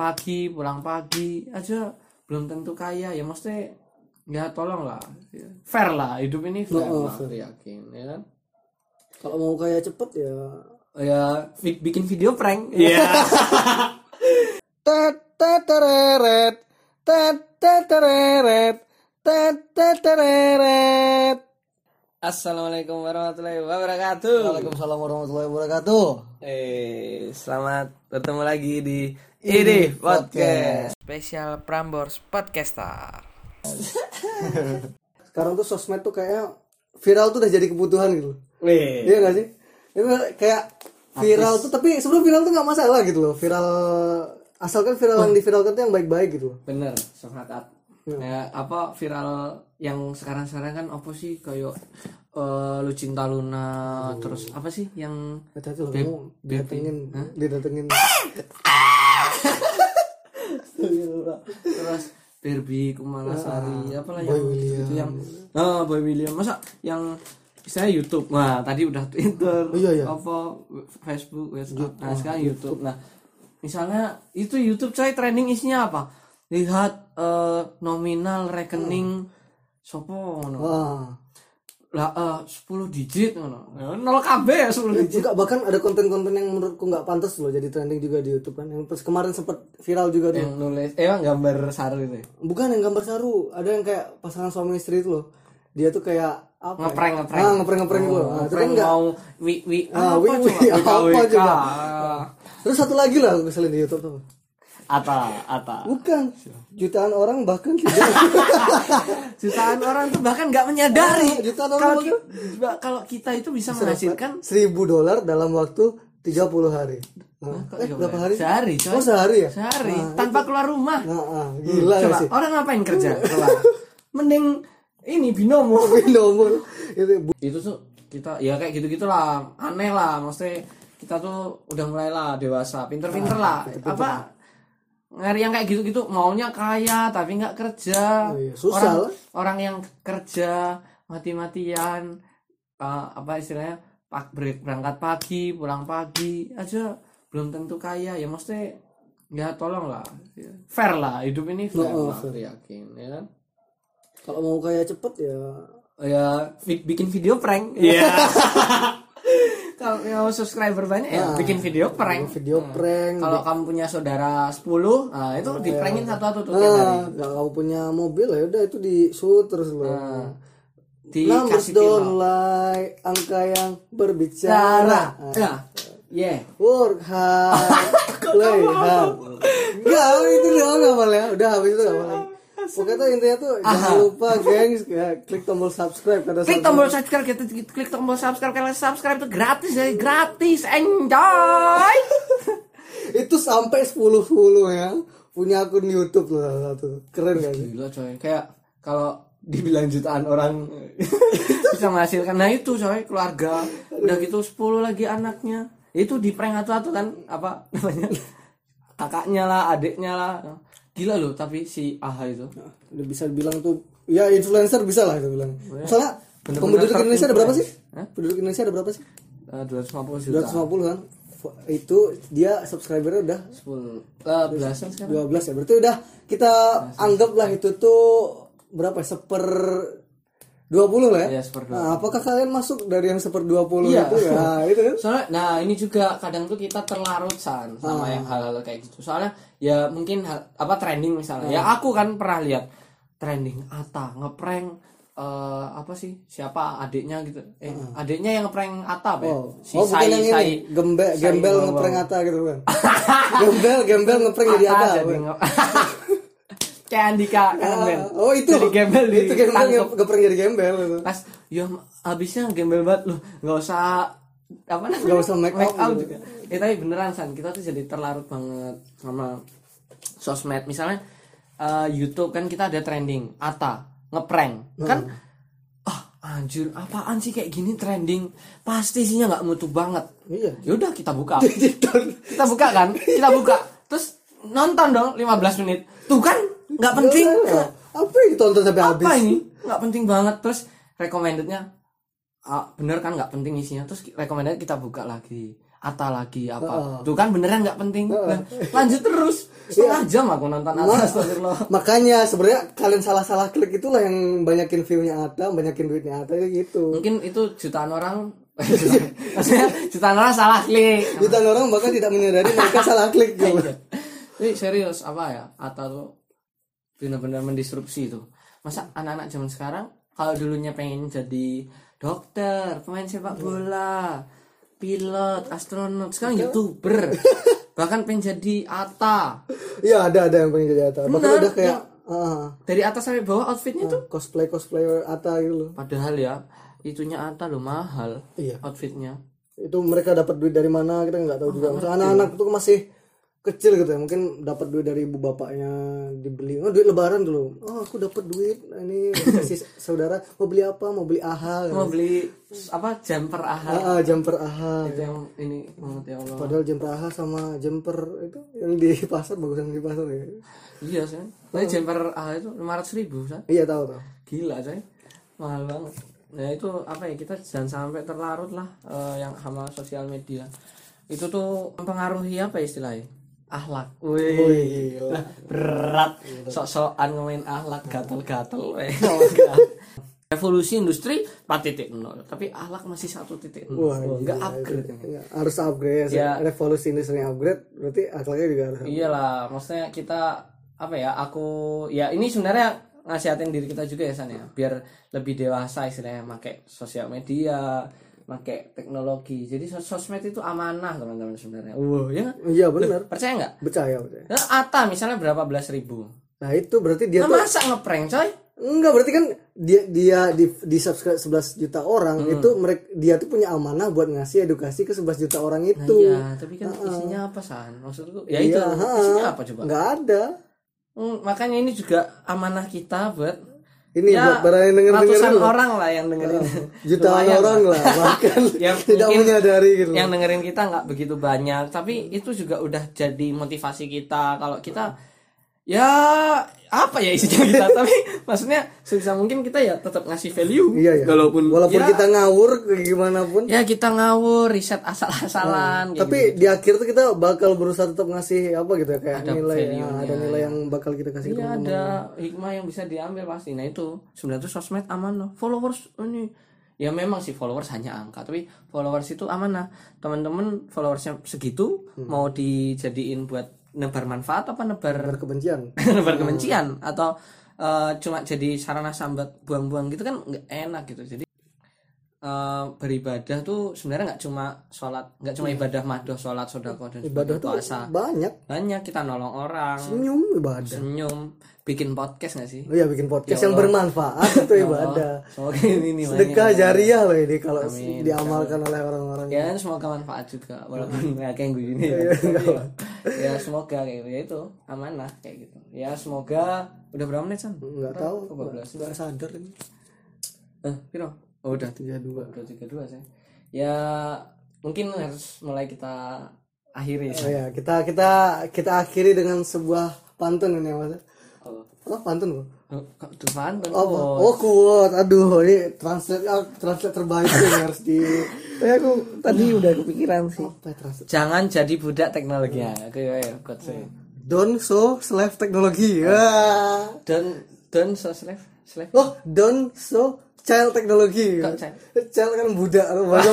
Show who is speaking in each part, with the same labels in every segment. Speaker 1: pagi pulang pagi aja belum tentu kaya ya maksudnya ya tolong lah ya. fair lah hidup ini fair
Speaker 2: Oh, oh,
Speaker 1: lah
Speaker 2: fair.
Speaker 1: aku yakin ya kan
Speaker 2: kalau mau kaya cepet ya
Speaker 1: ya bi- bikin video prank
Speaker 2: tet tet tereret tet tet tereret tet tet tereret
Speaker 1: assalamualaikum warahmatullahi wabarakatuh
Speaker 2: Waalaikumsalam warahmatullahi wabarakatuh
Speaker 1: eh selamat bertemu lagi di
Speaker 2: Ini Podcast.
Speaker 1: spesial Prambors Podcaster
Speaker 2: sekarang tuh sosmed tuh kayaknya viral tuh udah jadi kebutuhan gitu
Speaker 1: Wih,
Speaker 2: iya gak sih itu kayak viral tuh tapi sebelum viral tuh nggak masalah gitu loh viral asalkan viral yang diviralkan tuh yang baik-baik gitu loh
Speaker 1: bener sangat
Speaker 2: Iya.
Speaker 1: ya, apa viral yang sekarang sekarang kan apa sih kayak eh, lu cinta luna terus apa sih yang
Speaker 2: hati-hati loh kamu didatengin didatengin
Speaker 1: terus Barbie Kumalasari apalah yang
Speaker 2: Iya. Ah, Boy William.
Speaker 1: itu yang oh, Boy William masa yang saya YouTube nah tadi udah Twitter
Speaker 2: Oh, iya, iya.
Speaker 1: apa Facebook WhatsApp nah sekarang YouTube nah misalnya itu YouTube coy trending isinya apa lihat eh, nominal rekening
Speaker 2: Hmm.
Speaker 1: sopo
Speaker 2: Oh,
Speaker 1: ngono.
Speaker 2: wah
Speaker 1: lah eh, 10 digit ngono. Ya, Nol kabeh ya 10 digit.
Speaker 2: juga bahkan ada konten-konten yang menurutku nggak pantas loh jadi trending juga di YouTube kan yang pas kemarin sempat viral juga tuh
Speaker 1: Yang nulis emang gambar saru itu. ya?
Speaker 2: bukan yang gambar saru ada yang kayak pasangan suami istri itu loh dia tuh kayak apa
Speaker 1: Ngeprank,
Speaker 2: ya?
Speaker 1: ngeprank.
Speaker 2: ah, ngeprank ngeprank gitu loh. Nah, itu kan
Speaker 1: Prank
Speaker 2: nggak-
Speaker 1: mau wi wi
Speaker 2: Ah, wi- wi-
Speaker 1: coba?
Speaker 2: apa
Speaker 1: WKWK.
Speaker 2: juga. terus satu lagi lah aku keselin di YouTube tuh
Speaker 1: Ata ata.
Speaker 2: bukan jutaan orang bahkan tidak
Speaker 1: Jutaan orang tuh bahkan nggak menyadari
Speaker 2: Ah, jutaan orang
Speaker 1: kalau
Speaker 2: bahkan-
Speaker 1: ki- ba- kalau kita itu bisa menghasilkan
Speaker 2: seribu dolar dalam waktu 30 hari nah,
Speaker 1: Kok
Speaker 2: eh,
Speaker 1: tiga
Speaker 2: berapa
Speaker 1: bulan?
Speaker 2: hari
Speaker 1: Sehari, coy.
Speaker 2: oh sehari ya
Speaker 1: sehari tanpa keluar rumah.
Speaker 2: nah, ah, gila ya
Speaker 1: Coba,
Speaker 2: sih
Speaker 1: orang ngapain kerja? Coba. Mending ini binomo.
Speaker 2: nomor itu bu-
Speaker 1: itu tuh kita ya kayak gitu gitulah aneh lah maksudnya kita tuh udah mulai lah dewasa pinter-pinter
Speaker 2: Ah,
Speaker 1: lah apa ngari yang kayak gitu-gitu maunya kaya tapi nggak kerja
Speaker 2: Oh iya, susah
Speaker 1: orang
Speaker 2: lah.
Speaker 1: orang yang kerja mati-matian eh, apa istilahnya pak break- berangkat pagi pulang pagi aja belum tentu kaya ya maksudnya ya tolong lah fair lah hidup ini fair
Speaker 2: Oh, oh,
Speaker 1: lah, aku yakin ya kan
Speaker 2: kalau mau kaya cepet ya
Speaker 1: ya bi- bikin video prank
Speaker 2: Iya.
Speaker 1: kalau mau subscriber banyak ya bikin video prank
Speaker 2: Ah.
Speaker 1: Hmm.
Speaker 2: video Iya. prank
Speaker 1: kalau kamu punya saudara 10 nah itu di prankin satu-satu tuh tiap hari
Speaker 2: nah nggak kamu punya mobil ya udah itu di shoot terus loh
Speaker 1: Hmm.
Speaker 2: numbers
Speaker 1: dikasih
Speaker 2: don't
Speaker 1: pil
Speaker 2: lie angka yang berbicara
Speaker 1: cara ya yeah
Speaker 2: work hard play hard nggak itu doang nggak ya udah habis itu nggak apa lagi pokoknya tuh intinya tuh jangan lupa gengs ya, klik tombol subscribe karena
Speaker 1: klik tombol subscribe kita klik tombol subscribe kalian subscribe itu gratis ya gratis enjoy
Speaker 2: itu sampai 10 follow ya punya akun YouTube loh salah satu keren kan
Speaker 1: gila coy kayak kalau dibilang jutaan orang bisa menghasilkan nah itu coy keluarga udah gitu 10 lagi anaknya itu di prank satu-satu kan apa namanya kakaknya lah adiknya lah gila loh tapi si Aha itu
Speaker 2: udah bisa bilang tuh ya influencer bisa lah itu bilang
Speaker 1: Oh, ya.
Speaker 2: misalnya penduduk Indonesia ada berapa sih penduduk Indonesia ada berapa sih
Speaker 1: eh, 250 juta
Speaker 2: 250 kan F- itu dia subscribernya udah
Speaker 1: 10 eh, belasan sekarang
Speaker 2: 12 ya berarti udah kita
Speaker 1: Iya,
Speaker 2: anggaplah itu tuh berapa ya? seper 20 lah ya,
Speaker 1: Iya, seper
Speaker 2: Nah, apakah kalian masuk dari yang seper 20
Speaker 1: Iya.
Speaker 2: itu ya Nah, itu kan
Speaker 1: soalnya nah ini juga kadang tuh kita terlarut san sama
Speaker 2: Hmm.
Speaker 1: yang hal-hal kayak gitu soalnya ya mungkin hal- apa trending misalnya ya
Speaker 2: Hmm.
Speaker 1: aku kan pernah lihat trending Ata ngeprank eh, apa sih siapa adiknya gitu eh adiknya yang ngeprank Ata apa ya?
Speaker 2: Hmm. Oh,
Speaker 1: si
Speaker 2: oh, bukan
Speaker 1: Sai
Speaker 2: yang
Speaker 1: Sai
Speaker 2: ini gembel
Speaker 1: Sai
Speaker 2: gembel
Speaker 1: Bawang.
Speaker 2: ngeprank Ata gitu kan gembel gembel ngeprank jadi
Speaker 1: Ata
Speaker 2: Ata
Speaker 1: jadi Ah,
Speaker 2: bukan?
Speaker 1: nge- kayak Andika kan Ben.
Speaker 2: Ah, oh itu
Speaker 1: jadi gembel di
Speaker 2: itu gembel
Speaker 1: tangkep.
Speaker 2: nge- ngeprank jadi gembel itu
Speaker 1: pas ya habisnya gembel banget loh nggak usah apa namanya
Speaker 2: Nggak usah make up gitu.
Speaker 1: juga ya tapi beneran san kita tuh jadi terlarut banget sama sosmed misalnya eh, YouTube kan kita ada trending Ata ngeprank
Speaker 2: Hmm.
Speaker 1: kan ah anjir apaan sih kayak gini trending pasti isinya nggak mutu banget
Speaker 2: iya
Speaker 1: yaudah kita buka
Speaker 2: jadi don
Speaker 1: kita buka kan kita buka terus nonton dong 15 menit tuh kan nggak penting
Speaker 2: apa yang ditonton sampai habis
Speaker 1: apa ini nggak penting banget terus recommendednya ah, bener kan nggak penting isinya terus recommended kita buka lagi ata lagi apa tuh kan beneran nggak penting Nah, lanjut terus setengah jam aku nonton Atta astagfirullah
Speaker 2: Makanya sebenarnya kalian salah-salah klik itulah yang banyakin view-nya Ata, banyakin duitnya Ata kayak gitu.
Speaker 1: mungkin itu jutaan orang maksudnya jutaan orang salah klik
Speaker 2: Jutaan orang bahkan tidak menyadari mereka salah klik gitu.
Speaker 1: Iya. Tapi serius apa ya Atta tuh benar-benar mendisrupsi itu masa anak-anak zaman sekarang kalau dulunya pengen jadi dokter pemain sepak bola pilot astronot sekarang youtuber bahkan pengen jadi Atta
Speaker 2: Iya ada ada yang pengen jadi Ata. Bahkan
Speaker 1: Benar,
Speaker 2: udah kayak
Speaker 1: yang-
Speaker 2: ah,
Speaker 1: dari atas sampai bawah outfitnya tuh
Speaker 2: cosplay cosplay Ata gitu loh.
Speaker 1: padahal ya itunya Atta lo mahal
Speaker 2: Iya.
Speaker 1: outfitnya
Speaker 2: Itu mereka dapat duit dari mana kita nggak tahu juga.
Speaker 1: Iya.
Speaker 2: Maksudnya anak-anak itu masih kecil gitu ya mungkin dapat duit dari ibu bapaknya dibeli oh duit lebaran dulu oh aku dapat duit ini kasih saudara mau beli apa mau beli aha gitu.
Speaker 1: mau beli apa jumper ahal
Speaker 2: Ah, ah, jumper aha
Speaker 1: itu yang ini Muhammad ya Allah
Speaker 2: Padahal jumper AH sama jumper itu yang di pasar bagusan di pasar ya.
Speaker 1: iya sih tapi jumper ahal itu lima ratus ribu kan
Speaker 2: Iya tahu tahu.
Speaker 1: gila coy mahal banget nah itu apa ya kita jangan sampai terlarut lah eh, yang sama sosial media itu tuh mempengaruhi apa istilahnya ahlak wih
Speaker 2: Wih, gila.
Speaker 1: berat sok-sokan ngomongin ahlak gatel-gatel weh. evolusi industri 4.0 tapi ahlak masih 1.0
Speaker 2: Wah,
Speaker 1: enggak
Speaker 2: gila,
Speaker 1: upgrade
Speaker 2: itu. Iya, harus upgrade ya.
Speaker 1: Iya.
Speaker 2: Revolusi industri yang upgrade berarti akhlaknya juga harus. upgrade.
Speaker 1: iyalah maksudnya kita apa ya aku ya ini sebenarnya ngasihatin diri kita juga ya San ya biar lebih dewasa istilahnya make sosial media make teknologi jadi sos- sosmed itu amanah teman-teman sebenarnya wow ya nggak?
Speaker 2: Iya benar.
Speaker 1: percaya nggak
Speaker 2: Percaya percaya.
Speaker 1: Nah, Ata misalnya berapa belas ribu
Speaker 2: Nah itu berarti dia
Speaker 1: nah,
Speaker 2: tuh
Speaker 1: masa ngeprank coy
Speaker 2: enggak berarti kan dia dia di, di subscribe 11 juta orang
Speaker 1: Hmm.
Speaker 2: itu mereka dia tuh punya amanah buat ngasih edukasi ke 11 juta orang
Speaker 1: nah,
Speaker 2: itu.
Speaker 1: iya tapi kan isinya apa san maksudku ya itu
Speaker 2: Iya, ha.
Speaker 1: isinya apa coba
Speaker 2: Enggak ada.
Speaker 1: Hmm, makanya ini juga amanah kita buat ya
Speaker 2: Ini Iya, buat para yang denger-dengerin
Speaker 1: ratusan
Speaker 2: loh.
Speaker 1: orang lah yang dengerin
Speaker 2: jutaan
Speaker 1: Lumayan
Speaker 2: orang lah bahkan
Speaker 1: Ya,
Speaker 2: tidak
Speaker 1: mungkin
Speaker 2: menyadari gitu. Hmm.
Speaker 1: yang dengerin kita nggak begitu banyak tapi itu juga udah jadi motivasi kita kalau kita ya apa ya isinya kita tapi maksudnya sebisa mungkin kita ya tetap ngasih value
Speaker 2: Iya, iya.
Speaker 1: walaupun
Speaker 2: Walaupun
Speaker 1: ya,
Speaker 2: kita ngawur kayak gimana pun
Speaker 1: ya kita ngawur riset asal-asalan kayak
Speaker 2: Hmm, tapi di akhir tuh kita bakal berusaha tetap ngasih apa gitu ya kayak nilai ya, ada nilai yang bakal kita kasih
Speaker 1: gitu.
Speaker 2: ke
Speaker 1: ya ada hikmah yang bisa diambil pasti nah itu sebenarnya tuh sosmed amanah followers ini ya memang sih followers hanya angka tapi followers itu amanah teman-teman followersnya segitu
Speaker 2: Hmm.
Speaker 1: mau dijadiin buat nebar manfaat apa nebar
Speaker 2: teman. kebencian
Speaker 1: nebar kebencian atau eh, cuma jadi sarana sambat buang-buang gitu kan nggak enak gitu jadi eh, beribadah tuh sebenarnya nggak cuma sholat nggak cuma ibadah madoh sholat sodako dan
Speaker 2: Iya. ibadah
Speaker 1: ibadah
Speaker 2: tuh
Speaker 1: puasa
Speaker 2: banyak
Speaker 1: banyak kita nolong orang
Speaker 2: senyum ibadah
Speaker 1: senyum bikin podcast nggak sih
Speaker 2: oh ya bikin podcast yang bermanfaat itu ibadah
Speaker 1: semoga ini nih
Speaker 2: sedekah jariah loh ini kalau diamalkan oleh orang-orang
Speaker 1: ya kan semoga manfaat juga
Speaker 2: Iya.
Speaker 1: walaupun nggak kayak gue gini ya. ya semoga kayak gitu ya itu amanah kayak gitu ya semoga udah berapa menit san
Speaker 2: nggak
Speaker 1: Ya.
Speaker 2: tahu
Speaker 1: Kebablasan.
Speaker 2: nggak sadar ini
Speaker 1: Eh, piro? Oh, udah
Speaker 2: tiga dua
Speaker 1: 232 saya. Ya, mungkin harus mulai kita akhiri
Speaker 2: oh,
Speaker 1: ya.
Speaker 2: ya kita kita kita akhiri dengan sebuah pantun ini ya, mas
Speaker 1: Oh,
Speaker 2: oh pantun bro
Speaker 1: oh, kok depan Bang?
Speaker 2: Oh, oh quote. Aduh, ini translate ah, translate terbaik sih yang harus di
Speaker 1: Tapi aku tadi udah kepikiran sih.
Speaker 2: apa ya, translate?
Speaker 1: Jangan jadi budak teknologi ya. Oke, ayo, quote saya.
Speaker 2: Don't so slave teknologi. Wah.
Speaker 1: Don't don't so slave, slave.
Speaker 2: Oh, don't so child teknologi.
Speaker 1: Kok child?
Speaker 2: Child kan budak loh, bahasa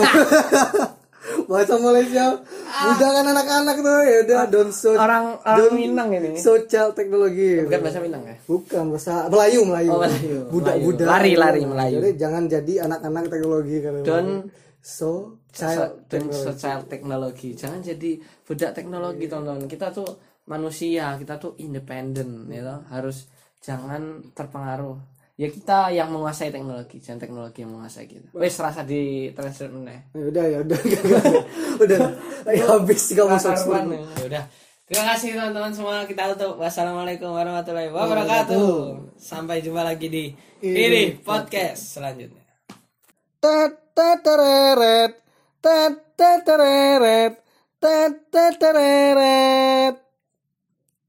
Speaker 2: bahasa Malaysia. Budak kan anak-anak tuh. Ya udah, don't so
Speaker 1: Orang orang Minang ini.
Speaker 2: so child teknologi.
Speaker 1: Bukan bahasa Minang ya?
Speaker 2: Bukan bahasa Melayu, Melayu.
Speaker 1: Oh, Melayu,
Speaker 2: Budak-budak.
Speaker 1: Melayu. Lari, lari, Melayu.
Speaker 2: Jadi jangan jadi anak-anak teknologi karena
Speaker 1: Don't-
Speaker 2: so
Speaker 1: So-
Speaker 2: child
Speaker 1: dan secara teknologi jangan jadi budak teknologi teman-teman kita tuh manusia kita tuh independen ya toh. harus jangan terpengaruh ya kita yang menguasai teknologi jangan teknologi yang menguasai kita wes rasa di transfer meneh
Speaker 2: Ya udah ya udah udah ya, habis kamu
Speaker 1: Karuan,
Speaker 2: subscribe.
Speaker 1: ya. Ya udah terima kasih teman-teman semua kita tutup wassalamualaikum warahmatullahi wabarakatuh sampai jumpa lagi di ini podcast selanjutnya
Speaker 2: Tet tet tereret tet tet tereret tet tet tereret